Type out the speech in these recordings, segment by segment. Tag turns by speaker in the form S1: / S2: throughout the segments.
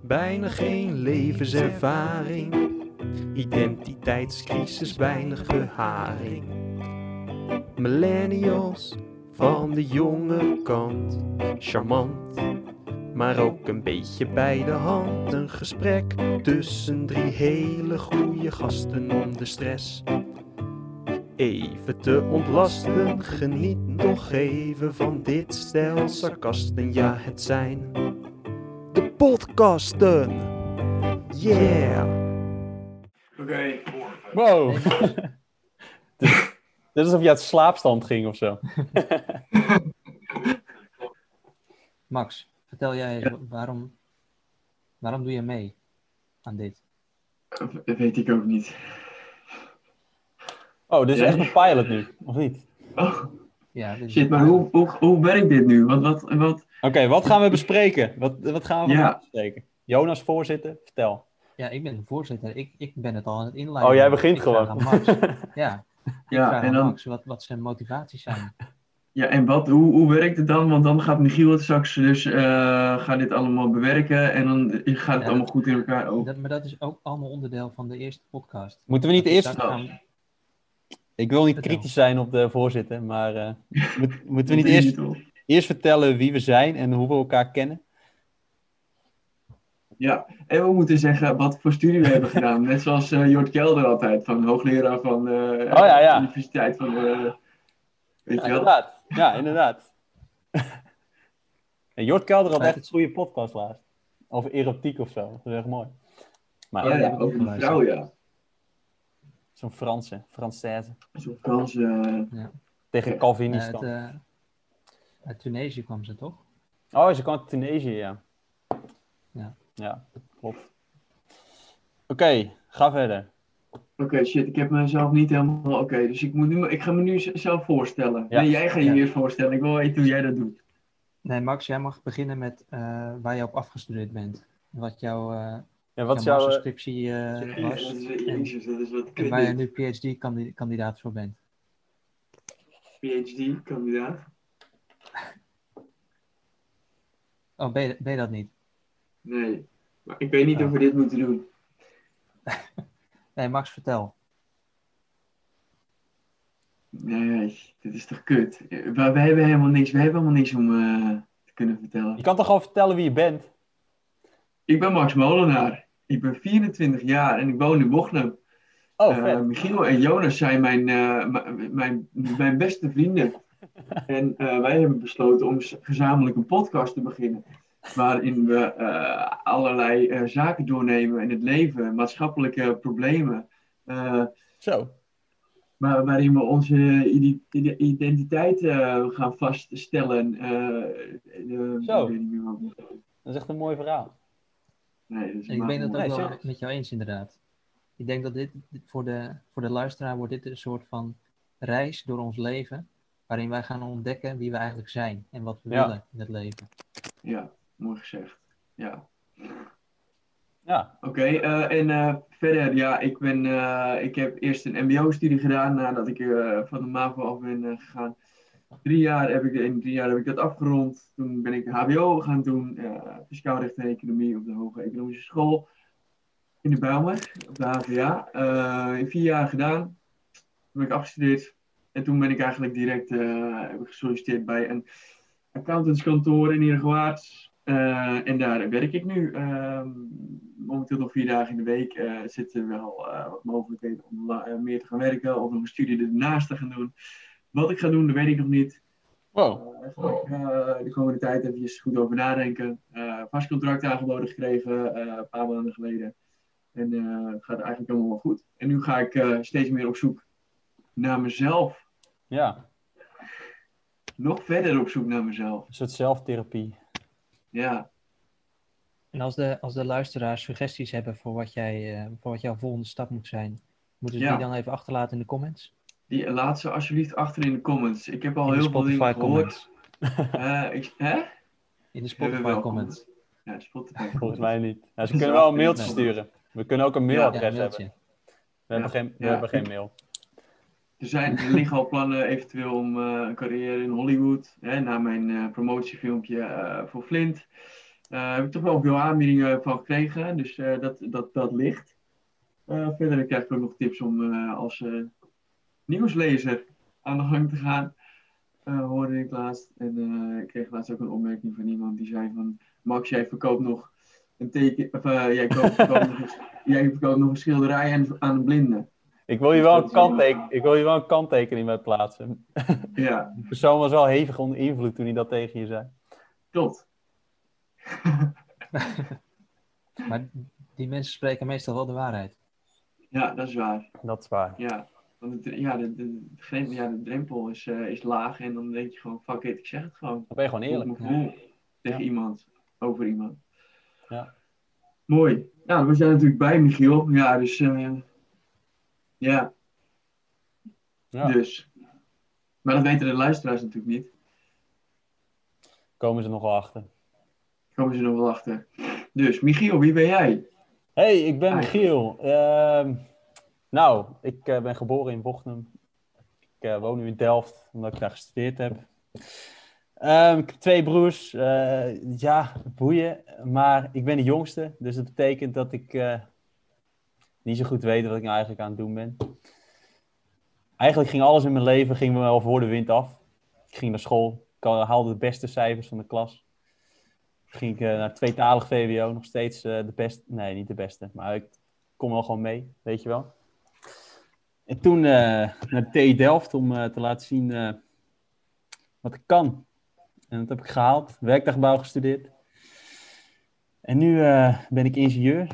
S1: Bijna geen levenservaring. Identiteitscrisis, weinig beharing. Millennials van de jonge kant. Charmant, maar ook een beetje bij de hand. Een gesprek tussen drie hele goede gasten om de stress. Even te ontlasten, geniet nog even van dit stel sarcasten. Ja, het zijn de podcasten. Yeah!
S2: Oké.
S3: Wow. Dit is alsof je uit slaapstand ging of zo.
S4: Max, vertel jij eens wa- waarom, waarom doe je mee aan dit?
S2: Dat weet ik ook niet.
S3: Oh, dit is
S2: Ja.
S3: echt een pilot nu, of niet?
S2: Oh,
S4: Ja, dit is-
S2: shit, maar hoe, hoe, hoe werkt dit nu? Wat, wat, wat?
S3: Oké, wat gaan we bespreken? Wat, wat gaan we
S2: Ja.
S3: vandaag bespreken? Jonas voorzitter, vertel.
S4: ja, ik ben de voorzitter. Ik, ik ben het al aan het inleiden.
S3: Oh, jij begint
S4: Ik vraag
S3: gewoon.
S4: aan Max. Ja, ik
S2: Ja,
S4: vraag
S2: en
S4: aan
S2: dan,
S4: Max wat, wat zijn motivaties zijn.
S2: ja, en wat, hoe, hoe werkt het dan? Want dan gaat Michiel het straks dus, eh gaat dit allemaal bewerken en dan gaat het
S4: Ja,
S2: allemaal
S4: dat-
S2: goed in elkaar. Oh,
S4: Dat, maar dat is ook allemaal onderdeel van de eerste podcast.
S3: Moeten we niet
S4: Dus
S3: eerst... Oh.
S4: daar
S2: Oh.
S4: gaan we-
S3: Ik wil niet
S4: Vertel.
S3: kritisch zijn op de voorzitter, maar eh, moet- moeten we
S2: dat
S3: niet
S2: doe je
S3: eerst,
S2: toch?
S3: eerst vertellen wie we zijn en hoe we elkaar kennen?
S2: Ja, en we moeten zeggen wat voor studie we hebben gedaan. Net zoals eh Jort Kelder altijd, van hoogleraar van eh
S3: Oh, ja, ja.
S2: de Universiteit van. eh, weet
S3: Ja,
S2: je wel?
S3: inderdaad. Ja, inderdaad. En Jort Kelder had
S4: Feit
S3: echt een goede podcast laatst. Over erotiek of zo. Dat is echt mooi. Maar
S2: ja,
S4: die
S2: ja,
S4: heb ik
S2: ook
S4: ook
S2: een
S4: geluisterd.
S2: vrouw, ja.
S3: zo'n Franse, Française.
S2: Zo'n Frans. eh,
S3: Tegen
S4: eh,
S3: Calvinistan.
S4: uit, eh, uit Tunesië kwam ze toch?
S3: Oh, ze kwam uit Tunesië, ja.
S4: Ja.
S3: Ja, klopt. Oké, ga verder.
S2: Oké, shit, ik heb mezelf niet helemaal. Oké, dus ik, moet nu, ik ga me nu z- zelf voorstellen.
S3: Ja.
S2: Nee, jij gaat je
S4: Ja.
S2: eerst voorstellen. Ik wil weten hoe jij dat doet.
S4: Nee, Max, jij mag beginnen met eh, waar je op afgestudeerd bent. Wat jouw, eh
S3: Ja, wat is
S4: jouw
S3: jouw... eh,
S4: masterscriptie eh, was.
S2: Jezus, dat is wat
S4: En waar je nu PhD-kandidaat voor bent.
S2: PhD-kandidaat.
S4: Oh, ben je, ben je dat niet?
S2: Nee, maar ik weet niet
S4: Ja.
S2: of we dit moeten doen.
S4: Nee, Max, vertel.
S2: Nee, dit is toch kut. Eh, Maar wij hebben helemaal niks. Wij hebben helemaal niks om eh, te kunnen vertellen.
S3: Je kan toch gewoon vertellen wie je bent?
S2: Ik ben Max Molenaar. Ik ben 24 jaar en ik woon in Bochum.
S3: Oh,
S2: Eh,
S3: vet.
S2: Michiel en Jonas zijn mijn, eh, m- mijn, mijn beste vrienden. En eh, wij hebben besloten om s- gezamenlijk een podcast te beginnen. Waarin we eh, allerlei eh, zaken doornemen in het leven, maatschappelijke problemen. eh,
S3: Zo.
S2: waar- waarin we onze ide- ide- identiteit eh, gaan vaststellen. eh, eh,
S3: Zo.
S2: Ik weet niet meer wat. ik moet zeggen.
S3: Dat is echt een mooi verhaal.
S2: Nee, dat is
S4: Ik
S2: maar-
S4: ben het
S3: Nee,
S4: ook wel
S3: serieus.
S4: met jou eens, inderdaad. Ik denk dat dit, dit voor, de, voor de luisteraar wordt dit een soort van reis door ons leven. Waarin wij gaan ontdekken wie we eigenlijk zijn en wat we
S3: Ja.
S4: willen in het leven.
S2: Ja, mooi gezegd. Ja.
S3: Ja.
S2: Oké, eh, en eh, verder, ja, ik, ben, eh, ik heb eerst een MBO-studie gedaan nadat ik eh, van de MAVO af ben eh, gegaan. Drie jaar heb ik, in drie jaar heb ik dat afgerond. Toen ben ik HBO gaan doen, eh, fiscaal recht en economie op de Hoge Economische School in de Bijlmer, op de HVA. Eh, in vier jaar gedaan, toen ben ik afgestudeerd. En toen ben ik eigenlijk direct eh, heb ik gesolliciteerd bij een accountantskantoor in Heergewaarts. Eh, en daar werk ik nu. ehm, momenteel nog vier dagen in de week. Eh, zitten wel eh, wat mogelijkheden om la- eh, meer te gaan werken of nog een studie ernaast te gaan doen. Wat ik ga doen, dat weet ik nog niet.
S3: Wow.
S2: Eh, daar ga ik
S4: Oh.
S2: eh, de komende tijd even goed over nadenken. Eh, vast contract aangeboden gekregen eh, een paar maanden geleden. En eh, het gaat eigenlijk allemaal wel goed. En nu ga ik eh, steeds meer op zoek naar mezelf.
S3: Ja.
S2: Nog verder op zoek naar mezelf.
S3: Een soort zelftherapie.
S2: Ja,
S4: En als de, als de luisteraars suggesties hebben voor wat, jij, eh, voor wat jouw volgende stap moet zijn, moeten ze
S2: Ja.
S4: die dan even achterlaten in de comments.
S2: die laatste alsjeblieft achter in de comments. Ik heb al
S4: in de
S2: heel veel dingen
S4: Spotify
S2: gehoord.
S4: comments.
S2: Eh, ik, hè?
S4: In de
S2: Hebben
S4: Spotify
S2: we wel
S4: comments.
S2: Ja, Spotify.
S3: Volgens mij niet. Ja, ze kunnen wel een mailtje
S2: Nee.
S3: sturen. We kunnen ook een
S4: Ja,
S3: mailadres
S4: een
S3: hebben.
S4: mailtje.
S3: We, hebben, geen, we
S2: Ja.
S3: hebben geen mail.
S2: Er, zijn, er liggen al plannen eventueel om eh, een carrière in Hollywood. Hè, na mijn eh, promotiefilmpje eh, voor Flint. Daar heb ik toch wel veel aanbiedingen van gekregen. Dus eh, dat, dat, dat ligt. Eh, verder krijg ik ook nog tips om eh, als eh, nieuwslezer aan de gang te gaan. Eh, hoorde ik laatst. En eh, ik kreeg laatst ook een opmerking van iemand die zei van... Max, jij verkoopt nog een teken... Of, eh, jij, koopt, verkoopt nog, een- jij verkoopt nog een schilderij aan, aan een blinde.
S3: Ik wil, hier wel een kantteken- ik wil hier wel een kanttekening bij plaatsen.
S2: Ja,
S3: De persoon was wel hevig onder invloed toen hij dat tegen je zei.
S2: klopt.
S4: Maar die mensen spreken meestal wel de waarheid.
S2: Ja, dat is waar.
S3: Dat is waar.
S2: Ja, want het, ja, de, de, de grem- ja, de drempel is, eh, is laag en dan denk je gewoon, fuck it, ik zeg het gewoon.
S3: Dan ben je gewoon
S2: Ik
S3: eerlijk.
S2: mijn gevoel tegen
S3: Ja.
S2: iemand, over iemand.
S3: Ja.
S2: Mooi. Ja, daar was jij natuurlijk bij, Michiel. Ja, dus... eh, ja,
S3: Ja.
S2: dus... Maar dat weten de luisteraars natuurlijk niet.
S3: Komen ze nog wel achter.
S2: Komen ze nog wel achter. Dus, Michiel, wie ben jij?
S3: Hey, ik ben
S2: Hi.
S3: Michiel. Ehm, nou, ik eh, ben geboren in Bochum. Ik eh, woon nu in Delft, omdat ik daar gestudeerd heb. Ehm, ik heb twee broers. Eh, ja, boeien. Maar ik ben de jongste, dus dat betekent dat ik eh, niet zo goed weet wat ik nou eigenlijk aan het doen ben. Eigenlijk ging alles in mijn leven ging me wel voor de wind af. Ik ging naar school, ik ha- haalde de beste cijfers van de klas. Ging ik eh, naar tweetalig VWO, nog steeds eh, de beste. Nee, niet de beste, maar ik kom wel gewoon mee, weet je wel. En toen eh, naar de TU Delft om eh, te laten zien eh, wat ik kan. En dat heb ik gehaald, werkdagbouw gestudeerd. En nu eh, ben ik ingenieur.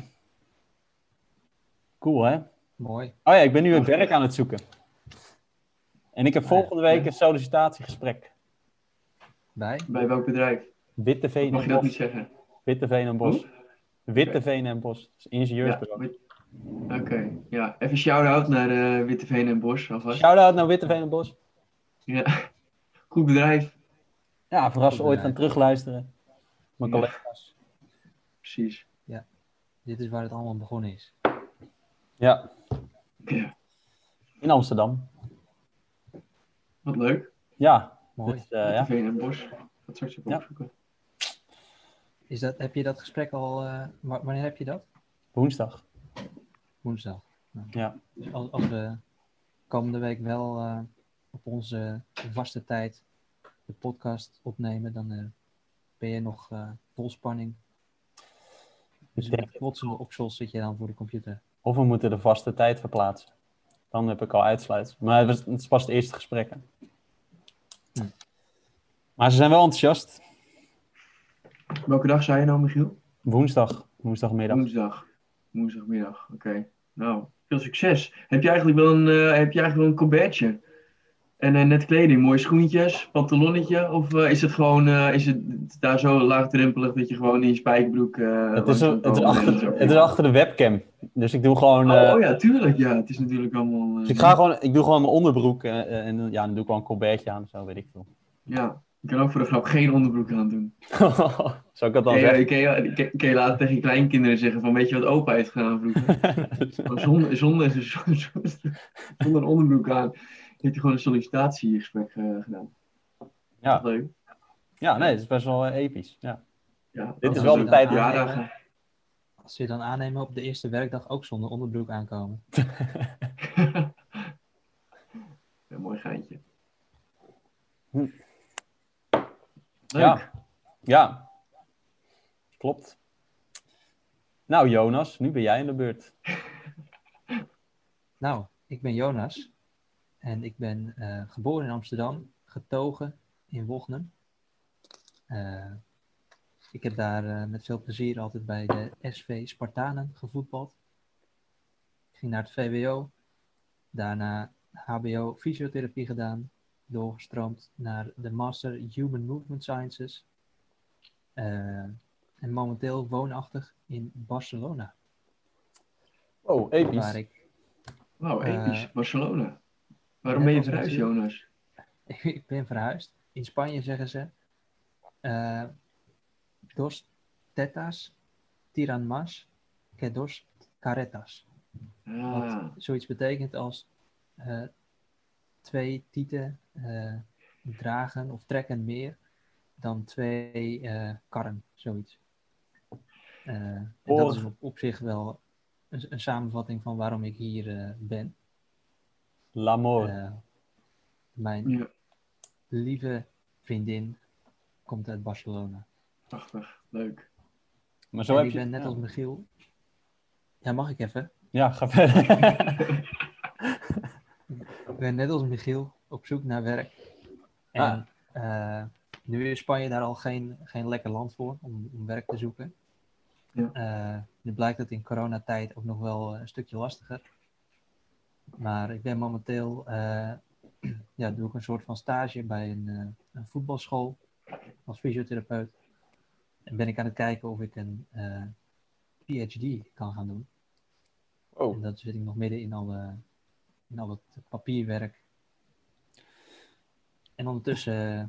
S3: Cool, hè?
S4: Mooi.
S3: Oh ja, ik ben nu het werk aan het zoeken. En ik heb
S2: Oh
S4: ja.
S3: volgende week een sollicitatiegesprek.
S4: Bij?
S2: Bij welk bedrijf?
S3: Witte Veen
S2: Mag
S3: en
S2: je dat niet
S3: Bos.
S2: zeggen?
S3: Witte Veen en Bos.
S2: Hoe?
S3: Witte Veen en Bos. Dat is
S2: Ja,
S3: een ingenieursbureau.
S2: moet- Oké, ja. Even shout-out naar eh Witteveen en Bos alvast.
S3: Shout-out naar Witte Veen en Bos.
S2: Ja. Goed bedrijf.
S3: Ja, voor als ze
S4: Goed
S3: ooit gaan terugluisteren. Mijn
S2: Ja.
S3: collega's.
S2: Precies.
S4: Dit is waar het allemaal begonnen is.
S3: Ja,
S2: Ja,
S3: in Amsterdam.
S2: wat leuk.
S3: Ja,
S4: Mooi.
S3: dus, eh, ja.
S2: Veen en Bos. Dat soort
S3: Ja.
S2: dingen opzoeken.
S4: Is dat, heb je dat gesprek al... eh, wa- wanneer heb je dat?
S3: woensdag.
S4: Woensdag.
S3: Ja.
S4: Dus als, als we komende week wel eh, op onze vaste tijd de podcast opnemen, dan eh, ben je nog eh, vol spanning. Dus
S3: denk
S4: met trotsel op zols zit je dan voor de computer.
S3: Of we moeten de vaste tijd verplaatsen. Dan heb ik al uitsluit. Maar het, was, het is pas het eerste gesprek. hè.
S4: Hm.
S3: Maar ze zijn wel enthousiast.
S2: Welke dag zei je nou, Michiel?
S3: Woensdag, woensdagmiddag.
S2: Woensdag. Woensdagmiddag, oké. Nou, veel succes. Heb je eigenlijk wel een, eh, heb je eigenlijk wel een colbertje? En eh, net kleding, mooie schoentjes, pantalonnetje? Of eh, is het gewoon eh, is het daar zo laagdrempelig dat je gewoon in je spijkerbroek... eh,
S3: Het
S2: langs
S3: is,
S2: kan
S3: het, is
S2: komen en zo?
S3: achter, het is achter de webcam. Dus ik doe gewoon. eh,
S2: Oh, oh ja, tuurlijk. Ja, het is natuurlijk allemaal... eh,
S3: dus ik, ga gewoon, ik doe gewoon mijn onderbroek. eh, eh, en ja, dan doe ik wel een colbertje aan of zo, weet ik veel.
S2: Ja, ik kan ook voor de grap geen onderbroek aan doen.
S3: Zou ik dat dan
S2: Kun
S3: zeggen?
S2: je, kun je- kun je- kun je later tegen je kleinkinderen zeggen van weet je wat opa heeft gedaan vroeger? Maar zonder, zonder, zonder, zonder onderbroek aan heeft hij gewoon een sollicitatiegesprek eh, gedaan.
S3: Ja.
S2: Leuk.
S3: ja, nee, het is best wel eh, episch. Ja.
S2: Ja,
S3: Dit
S4: is wel de tijd-
S2: Ja, daar
S4: Als we je dan aannemen op de eerste werkdag ook zonder onderbroek aankomen.
S2: Een mooi geintje.
S3: Hm.
S2: Leuk.
S3: Ja. ja, klopt. Nou, Jonas, nu ben jij in de beurt.
S4: Nou, ik ben Jonas en ik ben eh, geboren in Amsterdam, getogen in Wognum. Eh, ik heb daar eh, met veel plezier altijd bij de SV Spartanen gevoetbald. Ik ging naar het VWO, daarna HBO fysiotherapie gedaan, doorgestroomd naar de Master Human Movement Sciences. Eh, en momenteel woonachtig in Barcelona,
S3: Oh,
S4: waar
S3: episch.
S4: ik
S2: Wauw, episch.
S4: Eh,
S2: Barcelona. Waarom
S4: net
S2: ben je
S4: als
S2: verhuisd,
S4: natuurlijk.
S2: Jonas?
S4: ik ben verhuisd. In Spanje zeggen ze. eh, dos tetas tiran más que dos caretas.
S2: Ah,
S4: Wat zoiets betekent als eh, twee tieten eh, dragen of trekken meer dan twee eh, karren, zoiets. Eh, en
S3: Oh.
S4: dat is op, op zich wel een, een samenvatting van waarom ik hier eh, ben.
S3: L'amour.
S4: Eh, mijn
S2: Ja,
S4: lieve vriendin komt uit Barcelona.
S2: prachtig. Leuk.
S3: maar zo
S4: En
S3: heb
S4: ik
S3: je...
S4: ben net als Michiel. Ja, mag ik even?
S3: Ja, ga verder.
S4: Ik ben net als Michiel op zoek naar werk. En eh, nu is Spanje daar al geen, geen lekker land voor om, om werk te zoeken.
S2: Ja.
S4: Eh, nu blijkt dat in coronatijd ook nog wel eh, een stukje lastiger. Maar ik ben momenteel, eh, ja, doe ik een soort van stage bij een, eh, een voetbalschool als fysiotherapeut. En ben ik aan het kijken of ik een eh, PhD kan gaan doen. En
S3: Oh,
S4: dat zit ik nog midden in al, eh, in al het papierwerk. En ondertussen, eh,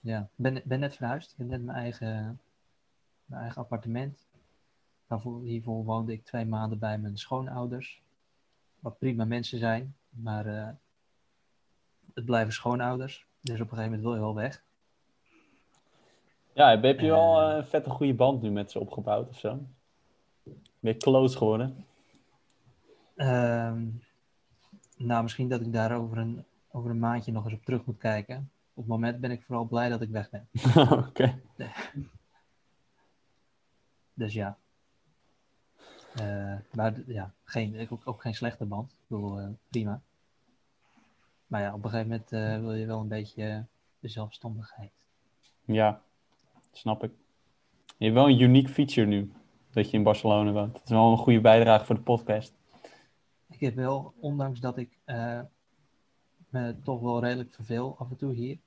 S4: ja, ben, ben net verhuisd. Ik heb net mijn eigen, mijn eigen appartement. Daarvoor, hiervoor woonde ik twee maanden bij mijn schoonouders. Wat prima mensen zijn, maar eh, het blijven schoonouders. Dus op een gegeven moment wil je wel weg.
S3: ja, heb heb je wel
S4: Eh.
S3: eh, een vette goede band nu met ze opgebouwd of zo? Ben je close geworden?
S4: Ehm, nou, misschien dat ik daar over een, over een maandje nog eens op terug moet kijken. Op het moment ben ik vooral blij dat ik weg ben.
S3: Oké.
S4: Dus ja. Eh, maar d- ja, geen, ook, ook geen slechte band. Ik bedoel, eh, prima. Maar ja, op een gegeven moment eh, wil je wel een beetje eh, de zelfstandigheid.
S3: Ja, snap ik. Je hebt wel een uniek feature nu, dat je in Barcelona woont. Dat is wel een goede bijdrage voor de podcast.
S4: Ik heb wel, ondanks dat ik eh, me toch wel redelijk verveel af en toe hier.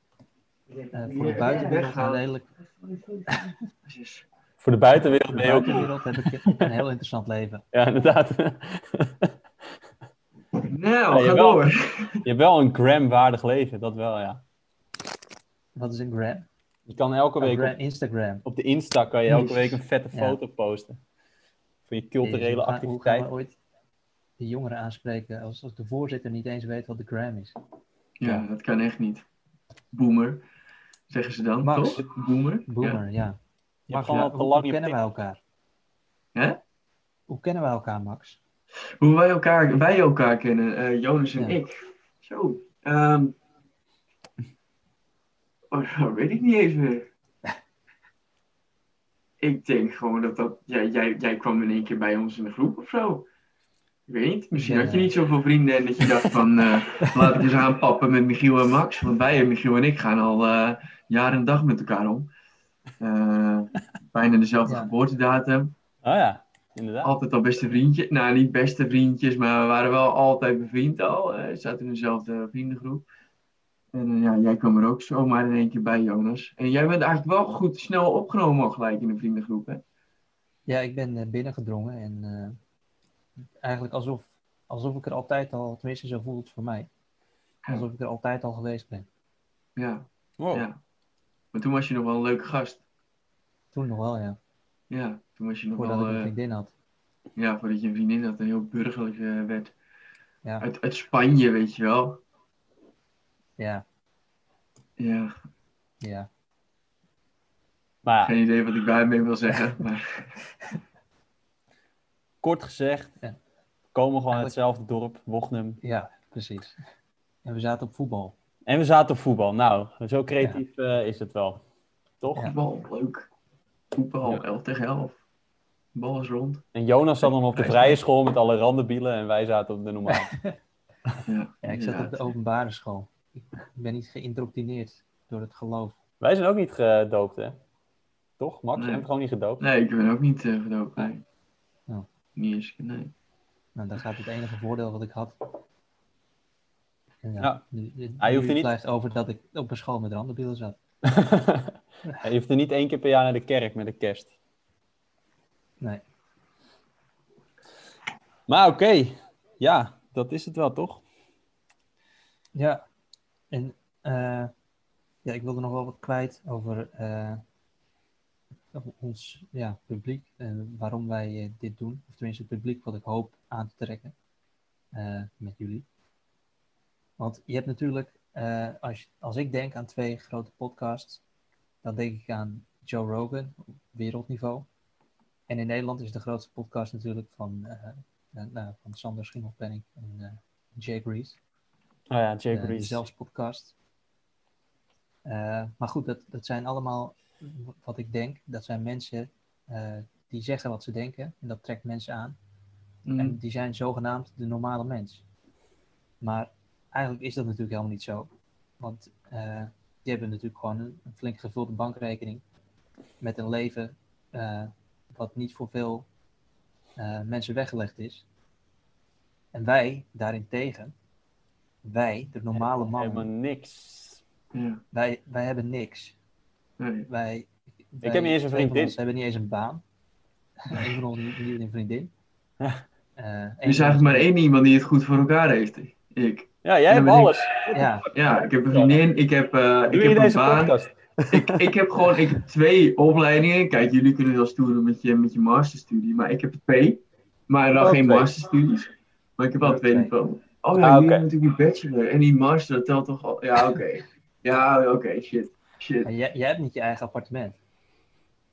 S4: eh, voor de buitenwereld een redelijk...
S2: Jezus.
S3: Voor de buitenwereld
S4: Voor
S3: ben
S4: de
S3: je ook...
S4: buitenwereld heb ik een heel interessant leven.
S3: Ja, inderdaad.
S2: Nou, ga
S3: jawel.
S2: door.
S3: je hebt wel een gram-waardig leven, dat wel, ja.
S4: Wat is een gram?
S3: Je kan elke
S4: Een
S3: week
S4: gram
S3: op,
S4: Instagram.
S3: op de Insta kan je elke
S2: Jezus.
S3: week een vette
S4: Ja.
S3: foto posten. Van je
S4: Jezus,
S3: culturele
S4: hoe gaan- Hoe gaan
S3: activiteit.
S4: we ooit de jongeren aanspreken als, als de voorzitter niet eens weet wat de gram is?
S2: Ja, dat kan echt niet. Boomer, zeggen ze dan,
S4: Max.
S2: toch? Boomer. Ja.
S4: Boomer, ja.
S3: Je hebt
S4: Max,
S3: gewoon
S4: ja,
S3: al te
S4: hoe,
S3: lang
S4: hoe
S3: je
S4: kennen
S3: pik-
S4: wij elkaar?
S2: Hè?
S4: Hoe kennen wij elkaar, Max?
S2: Hoe wij elkaar, wij elkaar kennen, eh, Jonas en
S4: Ja.
S2: ik. Zo. ehm, oh, dat weet ik niet eens meer. Ik denk gewoon dat dat... Jij, jij, jij kwam in één keer bij ons in de groep of zo. Ik weet niet. Misschien
S4: Ja.
S2: had je niet zoveel vrienden en dat je dacht van... eh, laat ik eens aanpappen met Michiel en Max. Want wij, Michiel en ik, gaan al eh, jaar en dag met elkaar om. Eh, bijna dezelfde
S4: Ja.
S2: geboortedatum
S3: Oh ja, inderdaad.
S2: altijd al beste vriendjes. Nou, niet beste vriendjes, maar we waren wel altijd bevriend al. Eh, We zaten in dezelfde vriendengroep. En eh, ja, jij kwam er ook zomaar in één keer bij, Jonas. En jij bent eigenlijk wel goed snel opgenomen al gelijk in de vriendengroep, hè?
S4: Ja, ik ben eh, binnengedrongen en eh, eigenlijk alsof, alsof ik er altijd al, tenminste zo voelt het voor mij, alsof ik er altijd al geweest ben.
S2: Ja,
S3: Wow.
S2: ja. Maar toen was je nog wel een leuke gast.
S4: Toen nog wel, ja.
S2: Ja, toen was je nog
S4: Voordat
S2: wel...
S4: ik een
S2: eh,
S4: vriendin had.
S2: ja, voordat je een vriendin had en heel burgerlijk eh, werd.
S4: Ja.
S2: Uit, uit Spanje, weet je wel.
S4: Ja,
S2: Ja,
S4: ja.
S3: Maar ja,
S2: geen idee wat ik daarmee wil zeggen. Maar
S3: kort gezegd,
S4: Ja.
S3: komen we gewoon uit
S4: Eigenlijk-
S3: hetzelfde dorp, Wochnum.
S4: Ja, precies. En we zaten op voetbal.
S3: En we zaten op voetbal. Nou, zo creatief eh, is het wel. Toch?
S4: Ja.
S2: voetbal, leuk. Voetbal,
S3: Ja.
S2: 11 tegen 11. Bal is rond.
S3: En Jonas zat dan op de vrije school met alle randenbielen en wij zaten op de normale.
S2: Ja,
S4: Ja, ik zat op de openbare school. Ik ben niet geïndoctrineerd door het geloof.
S3: wij zijn ook niet gedoopt, hè? Toch, Max?
S2: Nee.
S3: We hebben gewoon niet gedoopt.
S2: Nee, ik ben ook niet eh gedoopt, nee.
S4: Ja.
S2: Niet eens, nee.
S4: Nou, daar gaat het enige voordeel wat ik had. En ja,
S3: Ja.
S4: nu- nu-
S3: Hij hoeft
S4: nu
S3: er niet-
S4: blijft over dat ik op een school met randenbielen zat.
S3: je hoeft er niet één keer per jaar naar de kerk met de kerst.
S4: Nee.
S3: Maar oké, ja, dat is het wel, toch?
S4: Ja, en eh, ja, ik wilde nog wel wat kwijt over eh, over ons ja, publiek en waarom wij eh, dit doen. Of tenminste het publiek wat ik hoop aan te trekken eh, met jullie. Want je hebt natuurlijk, eh, als, je- als ik denk aan twee grote podcasts, dan denk ik aan Joe Rogan op wereldniveau. En in Nederland is de grootste podcast natuurlijk van, eh, eh, nou, van Sander Schimmelpenning en eh, Jake Rees.
S3: Oh ja, Jake
S4: eh,
S3: Reese.
S4: zelfs podcast. Eh, maar goed, dat, dat zijn allemaal w- wat ik denk. Dat zijn mensen eh, die zeggen wat ze denken. En dat trekt mensen aan.
S2: Mm.
S4: En die zijn zogenaamd de normale mens. Maar eigenlijk is dat natuurlijk helemaal niet zo. Want eh, die hebben natuurlijk gewoon een, een flink gevulde bankrekening. Met een leven eh, wat niet voor veel eh, mensen weggelegd is. En wij daarentegen, wij, de normale
S3: Helemaal
S4: mannen,
S3: niks.
S2: Ja.
S4: wij, wij hebben niks.
S2: Nee.
S4: Wij, wij-
S3: heb niet eens
S4: twee van
S3: een vriendin.
S4: ons hebben niet eens een baan. Een van ons niet niet een vriendin.
S3: Ja.
S4: Eh, één
S2: Er is
S4: van ons-
S2: eigenlijk maar één iemand die het goed voor elkaar heeft. Ik.
S3: Ja, jij hebt
S2: ben ik.
S3: alles.
S4: Ja,
S2: Ja, ik heb een vriendin, ik heb, eh, ik
S3: Doe je
S2: heb een
S3: deze
S2: baan.
S3: podcast?
S2: Ik, ik heb gewoon ik heb twee opleidingen. Kijk, jullie kunnen wel stoeren met je, met je masterstudie, maar ik heb er twee. Maar dan
S3: Oh,
S2: geen
S3: twee.
S2: masterstudies. Maar ik heb wel
S4: Ja,
S2: twee
S4: twee.
S2: niveaus. Oh ja,
S3: Ah,
S2: jullie
S3: oké.
S2: hebben natuurlijk die bachelor. En die master, dat telt toch al. Ja, oké. Ja, oké, shit. Shit.
S4: maar jij, jij hebt niet je eigen appartement.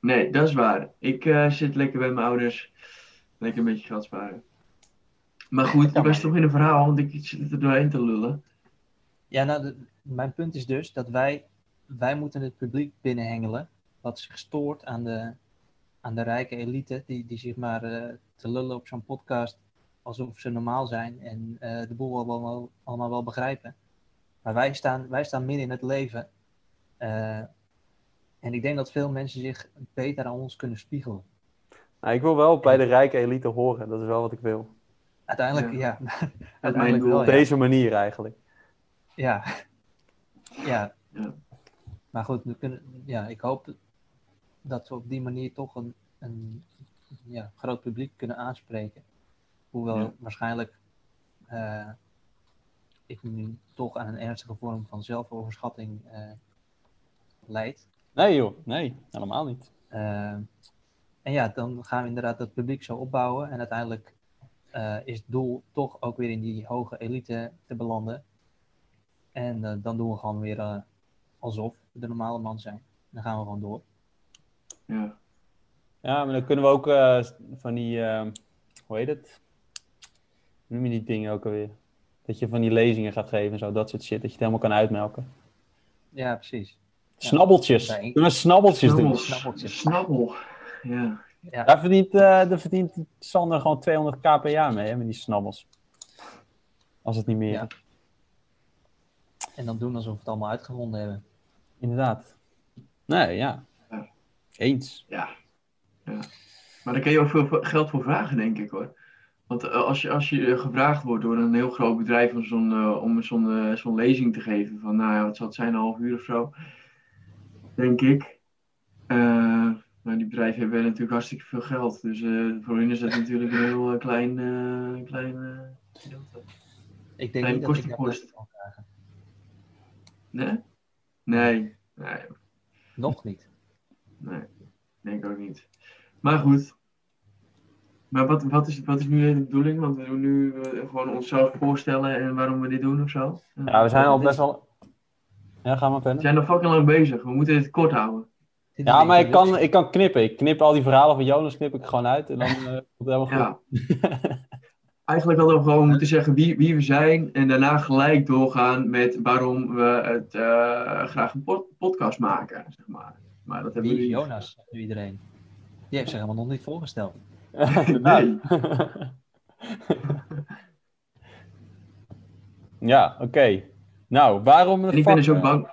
S2: Nee, dat is waar. Ik eh, zit lekker bij mijn ouders. Lekker een beetje geld sparen. Maar goed, je was toch in een verhaal, want ik zit er doorheen te lullen.
S4: Ja, nou, de- mijn punt is dus dat wij, wij moeten het publiek binnenhengelen. wat zich stoort aan de, aan de rijke elite. die, die zich maar eh, te lullen op zo'n podcast. alsof ze normaal zijn en eh, de boel wel, wel- wel- allemaal wel begrijpen. Maar wij staan, wij staan midden in het leven. eh, en ik denk dat veel mensen zich beter aan ons kunnen spiegelen.
S3: Nou, ik wil wel bij de rijke elite horen. Dat is wel wat ik wil.
S4: Uiteindelijk,
S2: Ja.
S4: ja.
S2: is mijn
S4: uiteindelijk
S2: doel.
S4: wel,
S3: Op
S4: ja.
S3: deze manier eigenlijk.
S4: Ja. ja.
S2: Ja.
S4: Maar goed, we kunnen, ja, ik hoop dat we op die manier toch een, een ja, groot publiek kunnen aanspreken. Hoewel
S2: Ja.
S4: waarschijnlijk eh, ik nu toch aan een ernstige vorm van zelfoverschatting eh leid.
S3: Nee joh, nee. Helemaal niet.
S4: Eh, en ja, dan gaan we inderdaad dat publiek zo opbouwen. En uiteindelijk eh, is het doel toch ook weer in die hoge elite te belanden. En eh, dan doen we gewoon weer eh, alsof we de normale man zijn. Dan gaan we gewoon door.
S2: Ja.
S3: Ja, maar dan kunnen we ook eh, van die... eh, hoe heet het? Hoe noem je die dingen ook alweer? Dat je van die lezingen gaat geven en zo. Dat soort shit. Dat je het helemaal kan uitmelken.
S4: Ja, precies.
S3: Snabbeltjes.
S4: Nee.
S3: Kunnen we snabbeltjes doen?
S2: Snabbels.
S4: Snabbeltjes.
S2: Snabbel. Ja.
S3: Daar verdient, eh, daar verdient Sander gewoon 200 k per jaar mee, hè, met die snabbels. Als het niet meer.
S4: Ja. En dan doen alsof we het allemaal uitgevonden hebben.
S3: Inderdaad. Nee, ja.
S2: Ja.
S3: Eens.
S2: ja. ja. Maar daar kun je ook veel voor- geld voor vragen, denk ik hoor. Want eh, als je, als je eh, gevraagd wordt door een heel groot bedrijf om zo'n eh, om zo'n eh, zo'n lezing te geven, van nou ja, wat zal het zijn, een half uur of zo, denk ik. Eh, nou, die bedrijven hebben natuurlijk hartstikke veel geld. Dus eh, voor hen is dat natuurlijk een heel eh, klein, eh, klein eh, gedeelte.
S4: Ik denk
S2: Nee,
S4: niet dat
S2: kost
S4: ik daar
S2: een kost.
S4: geld van vragen.
S2: Nee? Nee. Nee,
S4: Nog niet.
S2: Nee, denk ik ook niet. Maar goed. Maar wat, wat, is, wat is nu de bedoeling? Want we doen nu eh, gewoon onszelf voorstellen en waarom we dit doen of zo.
S3: Ja, we zijn al
S4: dit is-
S3: best wel. Ja, ga maar
S2: We
S3: verder.
S2: zijn al fucking lang bezig. We moeten dit kort houden.
S4: Dit is
S3: Ja,
S4: de
S3: maar ik kan,
S4: introductie.
S3: ik kan knippen. Ik knip al die verhalen van Jonas knip ik gewoon uit en dan eh, komt het helemaal goed.
S2: Ja. Eigenlijk hadden we gewoon moeten zeggen wie, wie we zijn. En daarna gelijk doorgaan met waarom we het eh, graag een pod- podcast maken. Zeg maar. maar dat hebben
S4: Wie is
S2: we nu-
S4: Jonas? zegt Nu iedereen. Die heeft zich helemaal nog niet voorgesteld.
S3: Inderdaad. ja, oké. Nou, waarom de
S2: En ik
S3: fuck,
S2: ben dus ook
S3: eh,
S2: bang.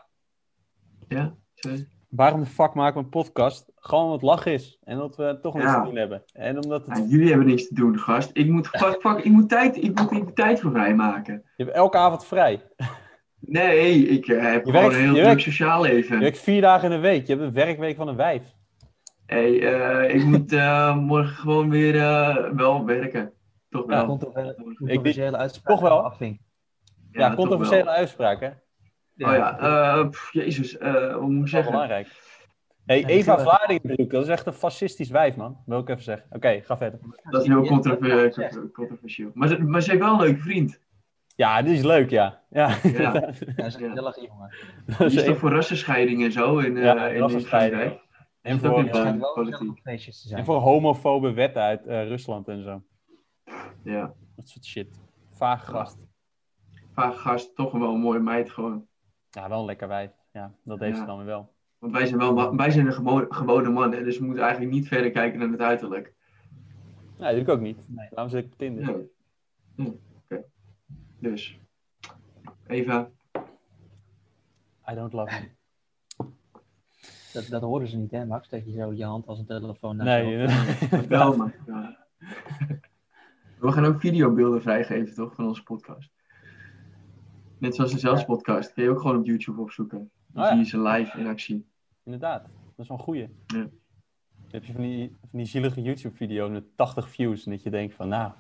S2: Ja, sorry.
S3: waarom de fuck maken we een podcast? Gewoon omdat het lachen is en dat we toch niks
S2: Ja.
S3: te doen hebben. En omdat
S2: Ja,
S3: het,
S2: jullie hebben niks te doen, gast. Ik moet, fuck, fuck, ik moet tijd, ik moet, ik moet tijd voor vrijmaken.
S3: je hebt elke avond vrij.
S2: Nee, ik eh, heb
S3: Je
S2: gewoon
S3: werkt-
S2: een heel
S3: je
S2: druk
S3: werkt-
S2: sociaal leven.
S3: Je werkt vier dagen in de week. Je hebt een werkweek van een wijf.
S2: Hey, eh, ik moet eh, morgen gewoon weer eh, wel werken. Toch
S4: Ja,
S2: wel.
S4: controver-
S2: Morgen.
S4: controversiële uitspraken
S3: toch wel.
S4: gaan we afvinken.
S3: Ja,
S2: toch
S3: controversiële
S2: wel.
S3: uitspraken.
S2: Oh ja, eh, pff, jezus, eh, wat moet ik
S3: Dat is wel
S2: zeggen?
S3: belangrijk. Hey,
S4: Ja,
S3: Eva
S4: natuurlijk.
S3: Vlaardingbroek, dat is echt een fascistisch wijf, man. Wil ik even zeggen. Oké, ga verder.
S2: Dat is heel
S4: Ja, dat heb ik al
S2: controver-
S4: gezegd.
S2: controversieel. Maar, ze- maar ze heeft wel een leuke vriend.
S3: Ja, dit is leuk, ja. Ja,
S2: Ja.
S3: dat
S4: Ja, dat is een
S2: Ja.
S4: gezellige jongen.
S2: Die
S3: is
S2: is toch
S3: even-
S2: voor rassenscheiding en zo in, eh
S3: Ja,
S2: in- in
S3: rassenscheiding.
S2: Frankrijk?
S3: En
S2: ook
S3: voor,
S2: niet
S4: Er schijnt wel
S2: politiek.
S4: gezellig op feestjes te
S3: en
S4: zijn.
S3: voor homofobe wetten uit eh, Rusland en zo.
S2: Ja.
S3: Dat soort shit. Vaag gast.
S2: Vaak gast, toch wel een mooie meid gewoon.
S3: Ja, wel een lekker wijf. Ja, dat heeft ze
S2: Ja.
S3: dan weer wel.
S2: Want wij zijn, wel, ma- wij zijn een gemo- gewone man, hè, dus we moeten eigenlijk niet verder kijken dan het uiterlijk.
S3: Nee, dat doe ik ook niet.
S4: Nee.
S3: Daarom zit ik op Tinder.
S2: Ja. Hm, Oké. Dus. Eva.
S3: I don't love you.
S4: Dat, dat horen ze niet, hè, Max? Dat je zo je hand als een telefoon naar
S3: Nee, eh.
S4: zo-
S3: inderdaad.
S2: Bel me. Ja. We gaan ook videobeelden vrijgeven, toch? Van onze podcast. Net zoals de zelfs podcast. Kun je ook gewoon op YouTube opzoeken. Dan
S3: Oh ja.
S2: zie je ze live in actie.
S3: inderdaad. Dat is wel een goeie.
S2: Ja.
S3: Dan heb je van die, van die zielige YouTube-video met 80 views. En dat je denkt van, nou...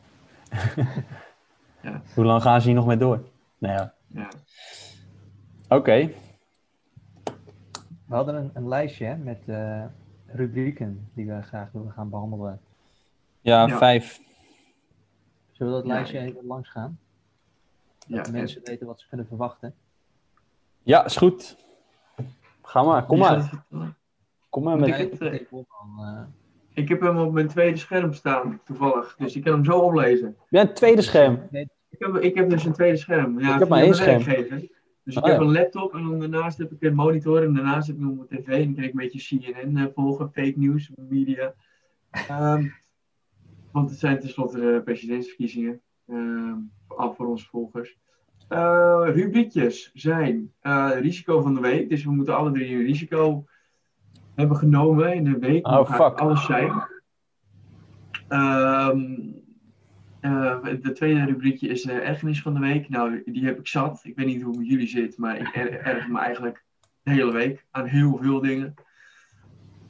S2: Ja.
S3: Hoe lang gaan ze hier nog mee door? Nou ja.
S2: Ja.
S3: Oké.
S4: We hadden een, een lijstje hè, met eh, rubrieken die we graag willen gaan behandelen.
S3: Ja,
S2: Ja.
S3: vijf.
S4: Zullen we dat
S2: Ja.
S4: lijstje even langs gaan?
S2: Ja,
S4: Dat mensen weten wat ze kunnen verwachten.
S3: Ja, is goed. Ga maar, kom
S2: Wie gaat
S3: maar.
S2: het vertellen?
S3: Kom maar
S2: Moet
S3: met...
S4: Nee,
S2: het, eh,
S4: ik hoor al, eh,
S2: Ik heb hem op mijn tweede scherm staan, toevallig. Dus ik kan hem zo oplezen.
S3: Ja, een tweede scherm.
S4: nee,
S2: Ik heb, ik heb dus een tweede scherm. Ja,
S3: Ik heb maar
S2: via
S3: één
S2: mijn
S3: scherm.
S2: werkgever. Dus ik
S3: Oh,
S2: heb
S3: ja.
S2: een laptop en dan daarnaast heb ik een monitor en daarnaast heb ik nog mijn tv. En dan kan ik een beetje CNN eh, volgen, fake news, media. Ehm, want het zijn tenslotte de presidentsverkiezingen ehm, af voor onze volgers. Eh, rubriekjes zijn eh, risico van de week. Dus we moeten alle drie een risico hebben genomen in de week.
S3: Oh,
S2: Dat gaat
S3: fuck.
S2: Alles zijn. Ehm, eh, de tweede rubriekje is eh, ergernis van de week. Nou, die heb ik zat. Ik weet niet hoe het met jullie zit, maar ik er- erger me eigenlijk de hele week aan heel veel dingen.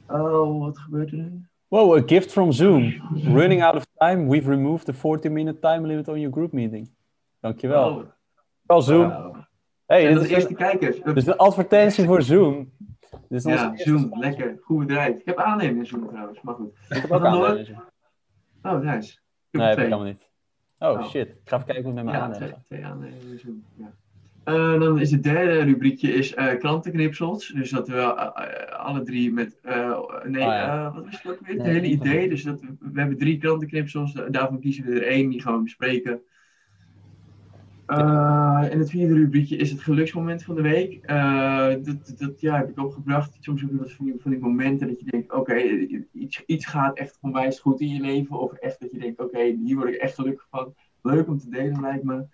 S2: Oh, wat gebeurt er nu?
S3: Wow, a gift from Zoom. Running out of time, we've removed the 40-minute time limit on your group meeting. Dankjewel.
S2: Oh,
S3: Wel, Zoom.
S2: wauw.
S3: hey,
S2: En dat
S3: dit is, Dus
S2: is eerst de
S3: een,
S2: kijkers.
S3: dit is een advertentie voor Zoom. Dit is onze
S2: ja,
S3: eerste
S2: Zoom,
S3: sponsor.
S2: lekker. Goed bedrijf. Ik heb aannemers in Zoom trouwens, maar goed.
S3: Ik heb
S2: We
S3: ook
S2: gaan door.
S3: aannemers.
S2: Oh, nice. Ik heb
S3: Nee, heb
S2: twee.
S3: ik helemaal niet. Oh,
S2: Oh.
S3: shit. Ik ga even kijken hoe het met mijn
S2: Ja,
S3: aannemers
S2: twee,
S3: gaat.
S2: twee aannemers in Zoom. Ja. Eh, dan is het derde rubriekje is, eh, krantenknipsels. Dus dat we eh, eh, alle drie met. eh, nee,
S3: Oh, ja.
S2: eh, wat is het ook weer? Het
S4: Nee,
S2: hele
S4: niet
S2: idee.
S4: van-
S2: Dus dat we, we hebben drie krantenknipsels. da- Daarvan kiezen we er één, die gaan we bespreken. Eh, en het vierde rubriekje is het geluksmoment van de week. Eh, dat, dat ja, heb ik opgebracht. Soms heb je wat van die, van die momenten dat je denkt: oké, iets, iets gaat echt onwijs goed in je leven. Of echt dat je denkt: oké, hier word ik echt gelukkig van. Leuk om te delen, lijkt me.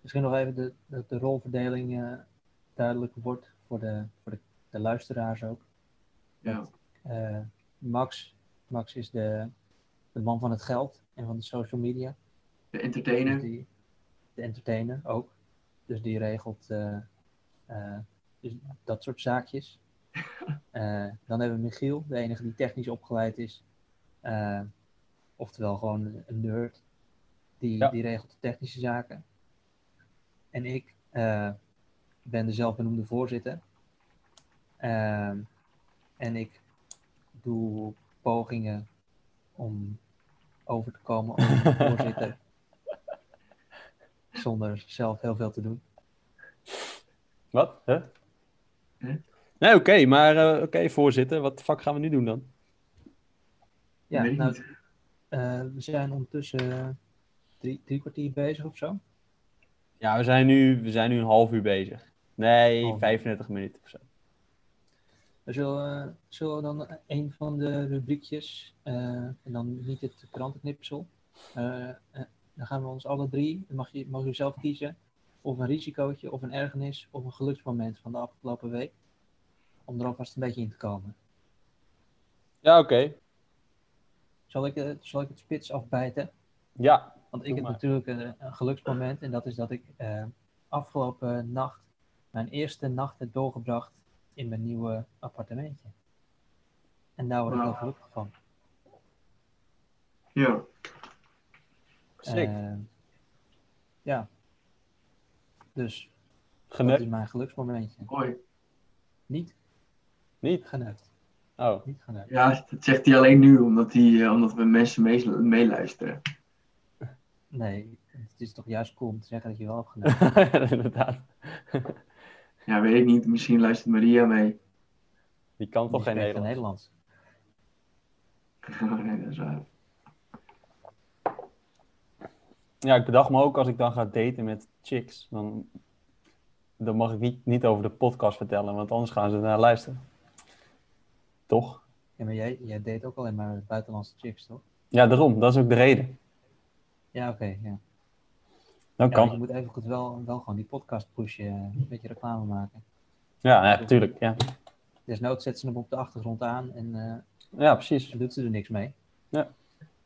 S4: misschien nog even de, de, de rolverdeling eh, duidelijk wordt voor de, voor de, de luisteraars ook.
S2: Ja.
S4: Eh, Max, Max is de, de man van het geld en van de social media.
S2: De
S4: Dus
S2: entertainer.
S4: die, de entertainer ook. Dus die regelt eh, eh, dus dat soort zaakjes. Eh, dan hebben we Michiel, de enige die technisch opgeleid is. Eh, oftewel gewoon een nerd. Die,
S3: Ja.
S4: die regelt de technische zaken. En ik eh, ben de zelfbenoemde voorzitter. Ehm, en ik doe pogingen om over te komen als voorzitter. Zonder zelf heel veel te doen.
S3: Wat? Huh?
S2: Huh?
S3: Nee, oké, maar eh, oké, voorzitter. Wat de fuck gaan we nu doen dan?
S4: Ja,
S2: Weet ik
S4: nou,
S2: niet.
S4: eh, we zijn ondertussen eh, drie, drie kwartier bezig of zo.
S3: Ja, we zijn nu, we zijn nu een half uur bezig. Nee,
S4: Half uur.
S3: 35 minuten of zo.
S4: We zullen, eh, zullen we dan een van de rubriekjes, eh, en dan niet het krantenknipsel, eh, eh, dan gaan we ons alle drie, dan mag je, mag je zelf kiezen, of een risicootje, of een ergernis, of een geluksmoment van de afgelopen week, om er alvast een beetje in te komen.
S3: Ja, oké.
S4: Zal ik, eh, zal ik het spits afbijten?
S3: Ja,
S4: Want ik
S3: Doe
S4: heb
S3: maar.
S4: natuurlijk een, een geluksmoment en dat is dat ik eh, afgelopen nacht mijn eerste nacht heb doorgebracht in mijn nieuwe appartementje. En daar word ik
S2: Wauw.
S4: heel gelukkig van.
S2: Ja,
S3: sick.
S4: Eh, ja. Dus dat
S3: Geneukt?
S4: is mijn geluksmomentje.
S2: mooi.
S4: Niet
S3: Niet?
S4: geneukt.
S3: Oh,
S4: Niet geneukt.
S2: Ja, dat zegt hij alleen nu, omdat, hij, eh, omdat we mensen mees- meeluisteren.
S4: Nee, het is toch juist cool om te zeggen dat je wel hebt geneukt.
S3: inderdaad.
S2: Ja, weet ik niet. Misschien luistert Maria mee.
S3: Die kan toch
S4: Die
S3: geen
S4: spreekt
S3: Nederlands?
S4: Nederlands.
S2: nee, dat is waar.
S3: Ja, ik bedacht me ook als ik dan ga daten met chicks, dan, dan mag ik niet, niet over de podcast vertellen, want anders gaan ze naar luisteren. Toch?
S4: Ja, maar jij, jij deed ook alleen maar buitenlandse chicks, toch?
S3: Ja, daarom. Dat is ook de reden.
S4: Ja, oké. ja. Ja,
S3: Dan kan
S4: maar je
S3: het.
S4: moet even goed wel, wel gewoon die podcast pushen, eh, een beetje reclame maken.
S3: Ja, ja, tuurlijk. Ja,
S4: Desnoods zet ze hem op de achtergrond aan en eh,
S3: ja precies.
S4: doet ze er niks mee.
S3: Ja.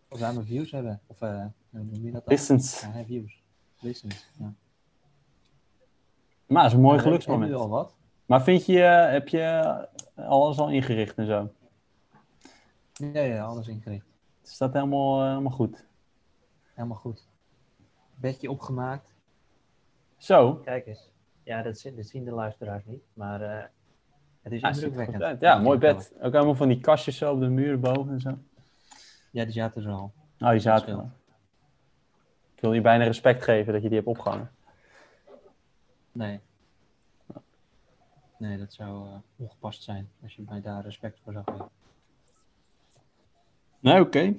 S4: Of we maar views hebben. Of eh, hoe noem je dat dan?
S3: Distance.
S4: Ja, hij views. Listens. Ja.
S3: Maar het is een mooi
S4: Maar we hebben nu
S3: geluksmoment.
S4: al wat.
S3: Maar vind je, eh, heb je alles al ingericht en zo?
S4: Ja, ja, alles ingericht.
S3: Is dat helemaal, eh, helemaal goed?
S4: Helemaal goed. Bedje opgemaakt.
S3: Zo.
S4: Kijk eens. Ja, dat zien, dat zien de luisteraars niet, maar eh, het is
S3: Ja, ziet er goed
S4: indrukwekkend.
S3: uit. ja, mooi bed. Ook allemaal van die kastjes zo op de muur boven en zo.
S4: Ja, die zaten er al.
S3: Oh, die zaten er
S4: scheelt.
S3: al. Ik wil je bijna respect geven dat je die hebt opgehangen.
S4: Nee. Nee, dat zou eh, ongepast zijn als je mij daar respect voor zou geven.
S3: Nee, oké.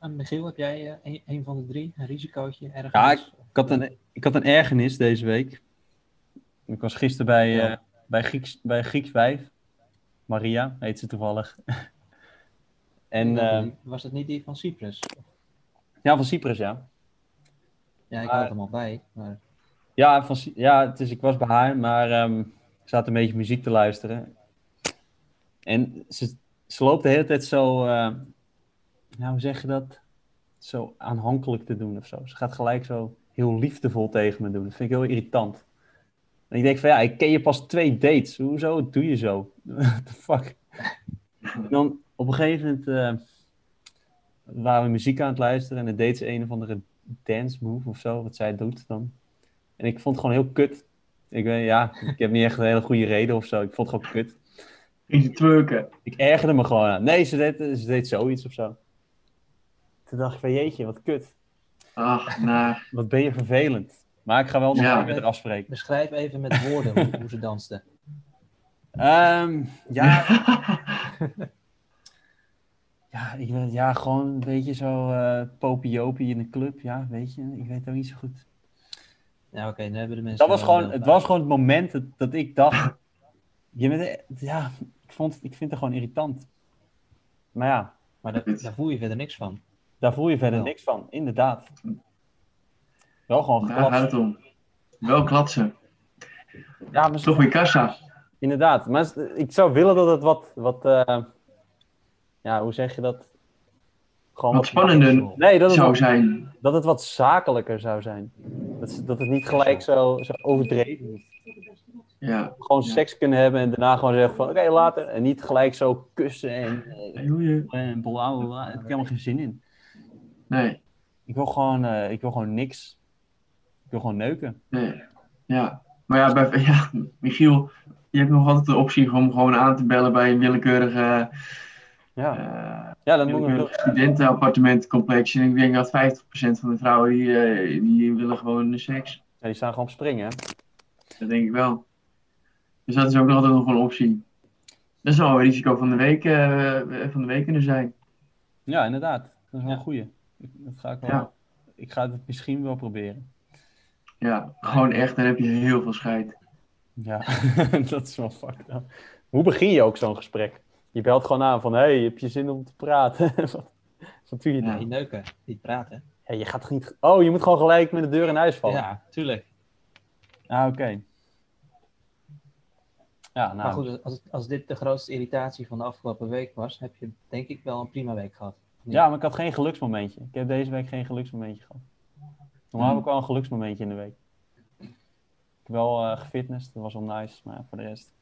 S4: En Michiel, heb jij eh, een, een van de drie? Een risicootje ergens?
S3: Ja, Ik had, een, ik had een ergernis deze week. Ik was gisteren bij,
S4: Ja.
S3: eh, bij, Grieks, bij een Grieks wijf. Maria heet ze toevallig. en eh,
S4: Was dat niet die van Cyprus?
S3: ja, van Cyprus, ja.
S4: Ja, ik
S3: maar-
S4: had hem al bij, maar
S3: Ja, van, Cy- ja het is, ik was bij haar, maar ehm ik zat een beetje muziek te luisteren. En ze, ze loopt de hele tijd zo, eh, nou, hoe zeg je dat? Zo aanhankelijk te doen of zo. Ze gaat gelijk zo heel liefdevol tegen me doen. Dat vind ik heel irritant. En ik denk van ja, ik ken je pas twee dates. Hoezo doe je zo? What the fuck? En dan op een gegeven moment eh, waren we muziek aan het luisteren en dan deed ze een of andere dance move of zo, wat zij doet dan. En ik vond het gewoon heel kut. Ik weet, ja, ik heb niet echt een hele goede reden of zo. Ik vond het gewoon kut.
S2: Ging ze twerken.
S3: Ik ergerde me gewoon aan. Nee, ze deed, ze deed zoiets of zo. Toen dacht ik van jeetje, wat kut.
S2: Ach, nou.
S3: Wat ben je vervelend. Maar ik ga wel nog
S2: Ja.
S3: een keer met haar afspreken.
S4: beschrijf even met woorden hoe, hoe ze dansten.
S3: Ehm, ja, ja, ik weet, ja, gewoon een beetje zo eh popiopie in de club. Ja, weet je, ik weet het ook niet zo goed.
S4: Ja, oké, nu hebben de mensen...
S3: Dus Dat was
S4: wel
S3: gewoon,
S4: een
S3: het
S4: beeld
S3: was gewoon het moment dat, dat ik dacht. Je bent, e- ja, ik, vond, het- ik vind het gewoon irritant. Maar ja,
S4: bij. Maar daar, daar voel je verder niks van.
S3: daar voel je verder
S4: Ja.
S3: niks van, inderdaad. Wel gewoon
S2: Daar gaat het
S3: geklapt.
S2: om. Wel klatsen.
S3: Ja, maar
S2: Toch weer kassa.
S3: Inderdaad, maar s- ik zou willen dat het wat, wat eh, ja, hoe zeg je dat? Gewoon
S2: Wat spannender
S3: Nee, dat het,
S2: zou
S3: wat,
S2: zijn.
S3: dat het wat zakelijker zou zijn. Dat, ze- dat het niet gelijk zo, zo overdreven is.
S2: Ja.
S3: Gewoon
S2: Ja.
S3: seks kunnen hebben en daarna gewoon zeggen van, oké, later. En niet gelijk zo kussen en, eh,
S2: Hey, hoe je-
S3: en bla bla bla. Daar heb ik helemaal geen zin in.
S2: Nee,
S3: Ik wil gewoon, eh, ik wil gewoon niks. Ik wil gewoon neuken.
S2: nee. Ja. Maar ja, bij, ja, Michiel, je hebt nog altijd de optie om gewoon aan te bellen bij een willekeurige,
S3: Ja,
S2: eh
S3: ja dan moet ik
S2: willekeurige studentenappartementencomplex. En ik denk dat 50% van de vrouwen die, eh, die willen gewoon seks.
S3: Ja, die staan gewoon op springen, hè.
S2: Dat denk ik wel. Dus dat is ook nog altijd nog een optie. Dat zou een risico van de week, eh, van de week kunnen zijn.
S3: Ja, inderdaad. Dat is wel
S4: Ja.
S3: een goeie. Ik, dat ga ik, wel,
S2: Ja.
S3: ik ga het misschien wel proberen.
S2: Ja, gewoon echt, dan heb je heel veel scheid.
S3: Ja, dat is wel fucked up. Hoe begin je ook zo'n gesprek? Je belt gewoon aan van, hey, heb je zin om te praten? wat, wat doe je
S2: Ja.
S3: nou?
S4: Die neuken, die praten.
S3: Ja, je gaat toch niet... Oh, je moet gewoon gelijk met de deur in huis vallen.
S4: Ja, tuurlijk.
S3: Ah, oké. Ja, nou,
S4: Maar goed, als, het- als dit de grootste irritatie van de afgelopen week was, heb je denk ik wel een prima week gehad.
S3: ja, maar ik had geen geluksmomentje. Ik heb deze week geen geluksmomentje gehad. Normaal heb ik wel een geluksmomentje in de week. Ik heb wel eh gefitnessd, dat was wel nice, maar voor de rest.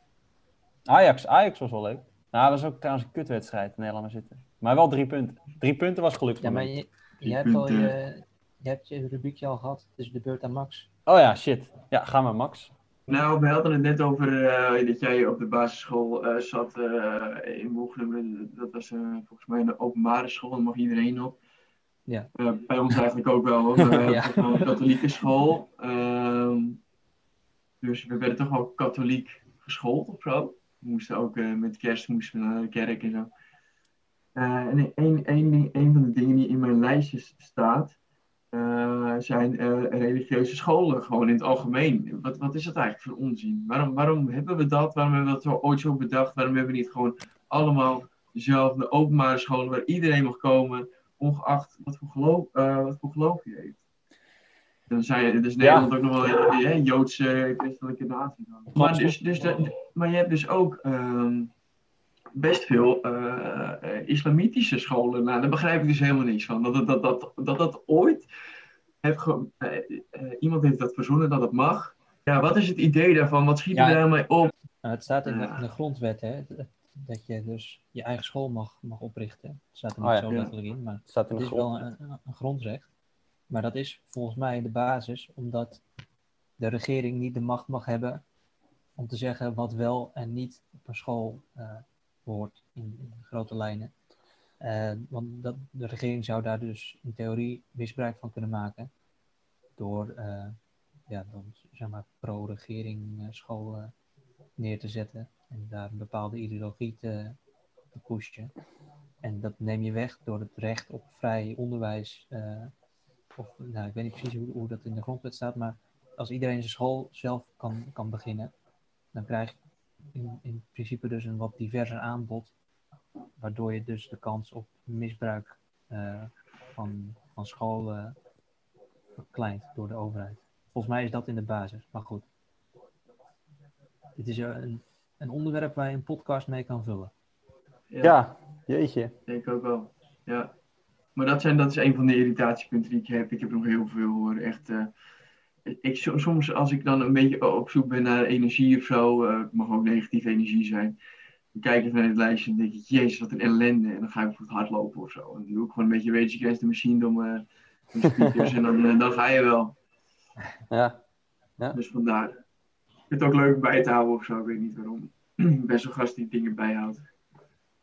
S3: Ajax, Ajax was wel leuk. Nou, dat was ook trouwens een kutwedstrijd. Nee, laat maar zitten. Maar wel drie punten. Drie punten was
S4: Ja, maar
S3: geluksmoment.
S4: je,
S2: Die
S4: jij hebt al
S2: punten.
S4: je, je, hebt je rubriekje al gehad, dus de beurt aan Max.
S3: Oh ja, shit. Ja, ga maar, Max.
S2: Nou, we hadden het net over eh, dat jij op de basisschool eh, zat eh, in Boegnum. Dat was eh, volgens mij een openbare school, daar mag iedereen op.
S4: Ja.
S2: Eh, bij ons eigenlijk ook wel, hoor. We
S4: Ja.
S2: hebben een katholieke school. ehm, dus we werden toch wel katholiek geschoold of zo. We moesten ook eh, met kerst moesten we naar de kerk en zo. Eh, en een, een, ding- een van de dingen die in mijn lijstjes staat, eh, zijn eh, religieuze scholen, gewoon in het algemeen. Wat, wat is dat eigenlijk voor onzin? Waarom, waarom hebben we dat? Waarom hebben we dat zo, ooit zo bedacht? Waarom hebben we niet gewoon allemaal dezelfde openbare scholen waar iedereen mag komen, ongeacht wat voor geloof, eh, wat voor geloof je heeft? Dan zijn dus Nederland ook nog wel een hè, Joodse christelijke natie. dan. Maar, dus, dus de- maar je hebt dus ook ehm, best veel eh, eh, islamitische scholen. Nou, daar begrijp ik dus helemaal niks van. Dat dat, dat, dat, dat, dat ooit heeft ge- eh, eh, iemand heeft dat verzonnen dat het mag. Ja, wat is het idee daarvan? Wat schiet
S4: Ja.
S2: er daarmee op?
S4: Nou, het staat in de,
S2: Ja.
S4: in de grondwet, hè, het- het- dat je dus je eigen school mag, mag oprichten. Het staat er
S3: Oh
S4: niet
S3: ja,
S4: zo
S2: ja.
S4: letterlijk in, maar
S3: Het staat in
S4: het
S3: de
S4: is wel
S3: grond.
S4: een, een- een grondrecht. Maar dat is volgens mij de basis, omdat de regering niet de macht mag hebben om te zeggen wat wel en niet op een school eh, hoort, in, in grote lijnen. Eh, want dat, de regering zou daar dus in theorie misbruik van kunnen maken door, eh, ja, dan, zeg maar, pro-regering eh, scholen neer te zetten en daar een bepaalde ideologie te, te pushen. En dat neem je weg door het recht op vrij onderwijs. eh, of, nou, ik weet niet precies hoe, hoe dat in de grondwet staat, maar als iedereen zijn school zelf kan, kan beginnen, dan krijg je in, in principe dus een wat diverser aanbod, waardoor je dus de kans op misbruik eh, van, van scholen verkleint door de overheid. Volgens mij is dat in de basis, maar goed. Dit is eh, een, een onderwerp waar je een podcast mee kan vullen.
S3: Ja, jeetje.
S2: Denk ik ook wel. Ja. Maar dat, zijn, dat is een van de irritatiepunten die ik heb. Ik heb nog heel veel hoor. Echt, eh, ik, so- soms als ik dan een beetje op zoek ben naar energie of zo, eh, het mag ook negatieve energie zijn. Dan kijk ik naar het lijstje en denk ik, jezus, wat een ellende. En dan ga ik voor het hardlopen of zo. En dan doe ik gewoon een beetje Rage Against the Machine door mijn door mijn speakers. en dan, eh, dan ga je wel.
S3: Ja.
S2: Dus vandaar. Ik vind het ook leuk bij te houden of zo. Ik weet niet waarom. Ik ben zo'n gast die dingen bijhoudt.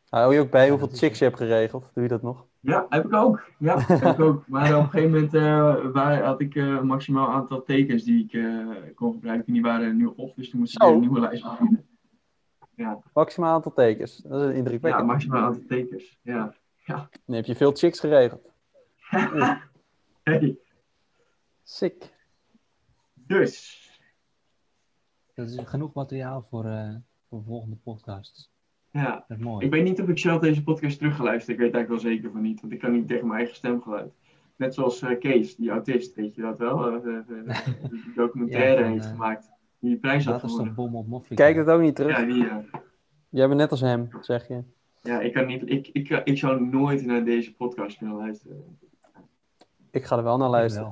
S3: Hou je ook bij hoeveel
S4: dat is
S3: chicks je hebt geregeld? Doe je dat nog?
S2: Ja, heb ik ook. Ja, heb ik ook. Maar op een gegeven moment eh, waar, had ik eh, een maximaal aantal tekens die ik eh, kon gebruiken. En die waren nu op, dus toen moest ik
S3: Zo.
S2: weer een nieuwe lijst beginnen.
S3: Maximaal aantal tekens. Dat is
S2: Ja,
S3: indrukwekkend.
S2: maximaal aantal tekens. Ja.
S3: Dan heb je veel chicks geregeld.
S2: Hey,
S3: Sick.
S2: dus,
S4: Dat is genoeg materiaal voor, eh, voor volgende podcasts.
S2: ja.
S4: Dat is mooi.
S2: Ik weet niet of ik zelf deze podcast teruggeluisterd. Ik weet eigenlijk wel zeker van niet, want ik kan niet tegen mijn eigen stemgeluid. Net zoals eh, Kees, die autist, weet je dat wel? Eh, eh, eh, die documentaire
S4: Ja, van,
S2: heeft
S4: eh,
S2: gemaakt. Die de prijs had gewonnen.
S4: Waterstofbom op Moffie.
S3: Kijk dat ook niet terug.
S2: Ja, die, eh,
S3: Jij bent net als hem, zeg je.
S2: ja, ik kan niet. Ik, ik, eh, ik zou nooit naar deze podcast kunnen luisteren.
S3: Ik ga er wel naar luisteren.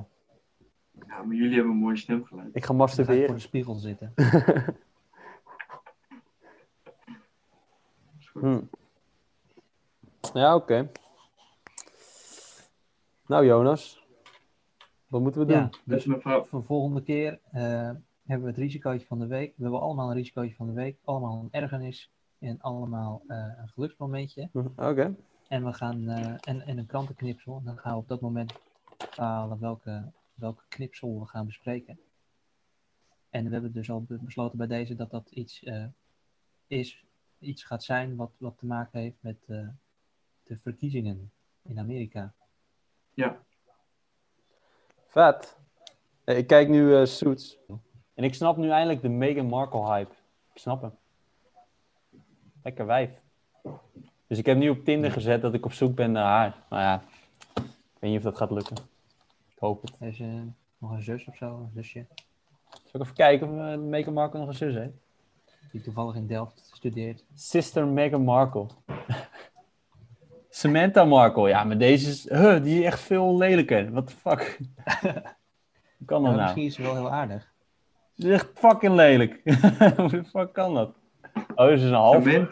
S4: Wel.
S2: Ja, maar jullie hebben een mooi stemgeluid.
S3: Ik ga
S4: Dan ga ik voor
S3: masturberen.
S4: de spiegel zitten.
S3: Hm. Ja, oké. Nou, Jonas. Wat moeten we doen?
S4: Ja,
S2: Dat is
S4: dus
S2: mijn vrouw.
S4: voor volgende keer eh, hebben we het risicootje van de week. We hebben allemaal een risicootje van de week. Allemaal een ergernis. En allemaal eh, een geluksmomentje.
S3: Hm, Oké.
S4: En we gaan eh, en, en een krantenknipsel. En dan gaan we op dat moment bepalen welke, welke knipsel we gaan bespreken. En we hebben dus al be- besloten bij deze dat dat iets eh, is, iets gaat zijn wat, wat te maken heeft met eh, de verkiezingen in Amerika.
S2: Ja,
S3: Vet. Eh, Ik kijk nu eh Suits. En ik snap nu eindelijk de Meghan Markle hype. Ik snap hem. Lekker wijf. Dus ik heb nu op Tinder gezet dat ik op zoek ben naar haar. Maar ja, ik weet niet of dat gaat lukken. Ik hoop het.
S4: Er is eh, nog een zus of zo, een zusje,
S3: Zal ik even kijken of eh, Meghan Markle nog een zus heeft?
S4: die toevallig in Delft studeert.
S3: Sister Meghan Markle. Samantha Markle. Ja, maar deze is... Huh, die is echt veel lelijker. What the fuck? Hoe
S2: Oh,
S4: Nou,
S3: kan dat nou?
S4: misschien is ze wel heel aardig.
S3: Dit is echt fucking lelijk. Hoe de fuck kan dat? Oh, dit is een half. Nou,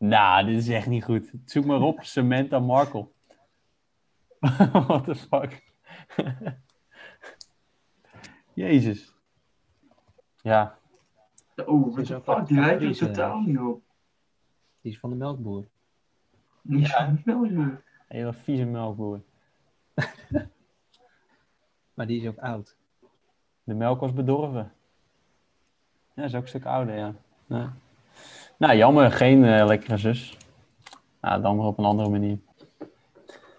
S2: Samantha.
S3: dit is echt niet goed. Zoek maar op, Samantha Markle. What the fuck? Jezus. Ja,
S2: Oh,
S4: Ze
S2: wat
S4: is
S2: de
S4: ook
S2: fuck, die lijkt er
S4: actrice.
S2: totaal niet op.
S4: Die is van de melkboer.
S2: Niet zo snel, joh.
S3: een hele vieze melkboer.
S4: Maar die is ook oud.
S3: De melk was bedorven. Ja, dat is ook een stuk ouder, ja. Ja. Nou, jammer, geen eh, lekkere zus. Nou, dan maar op een andere manier.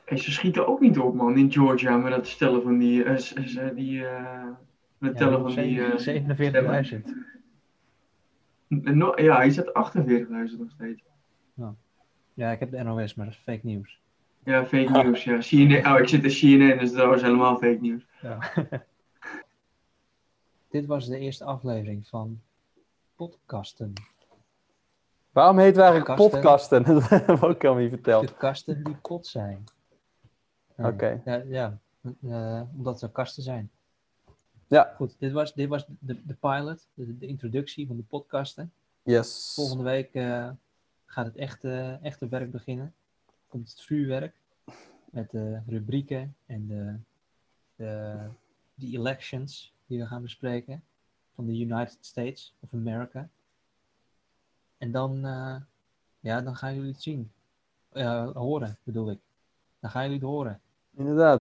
S2: En ze schieten ook niet op, man, in Georgia met dat stellen van die. eh, s- s- eh, die eh, met tellen van die. eh,
S4: 47.000.
S2: no- ja, hij zat 48.000 nog steeds.
S4: Ja, ik heb de NOS, maar dat is fake nieuws.
S2: Ja, fake news. Ja. CNN, oh, ik zit in CNN, dus dat was helemaal fake news.
S4: Dit was de eerste aflevering van podcasten.
S3: Waarom heet het eigenlijk
S4: Podcasten.
S3: podcasten? Dat hebben we ook helemaal niet verteld.
S4: De kasten die pot zijn. Nee.
S3: Oké.
S4: Ja, ja. Eh, omdat ze kasten zijn.
S3: Ja.
S4: Goed, dit was, dit was de, de pilot, de, de introductie van de podcasten.
S3: Yes.
S4: Volgende week eh, gaat het echte, echte werk beginnen. Komt het vuurwerk met de rubrieken en de, de, de elections die we gaan bespreken van de United States of America. En dan, eh, ja, dan gaan jullie het zien. Eh, horen bedoel ik. Dan gaan jullie het horen.
S3: Inderdaad.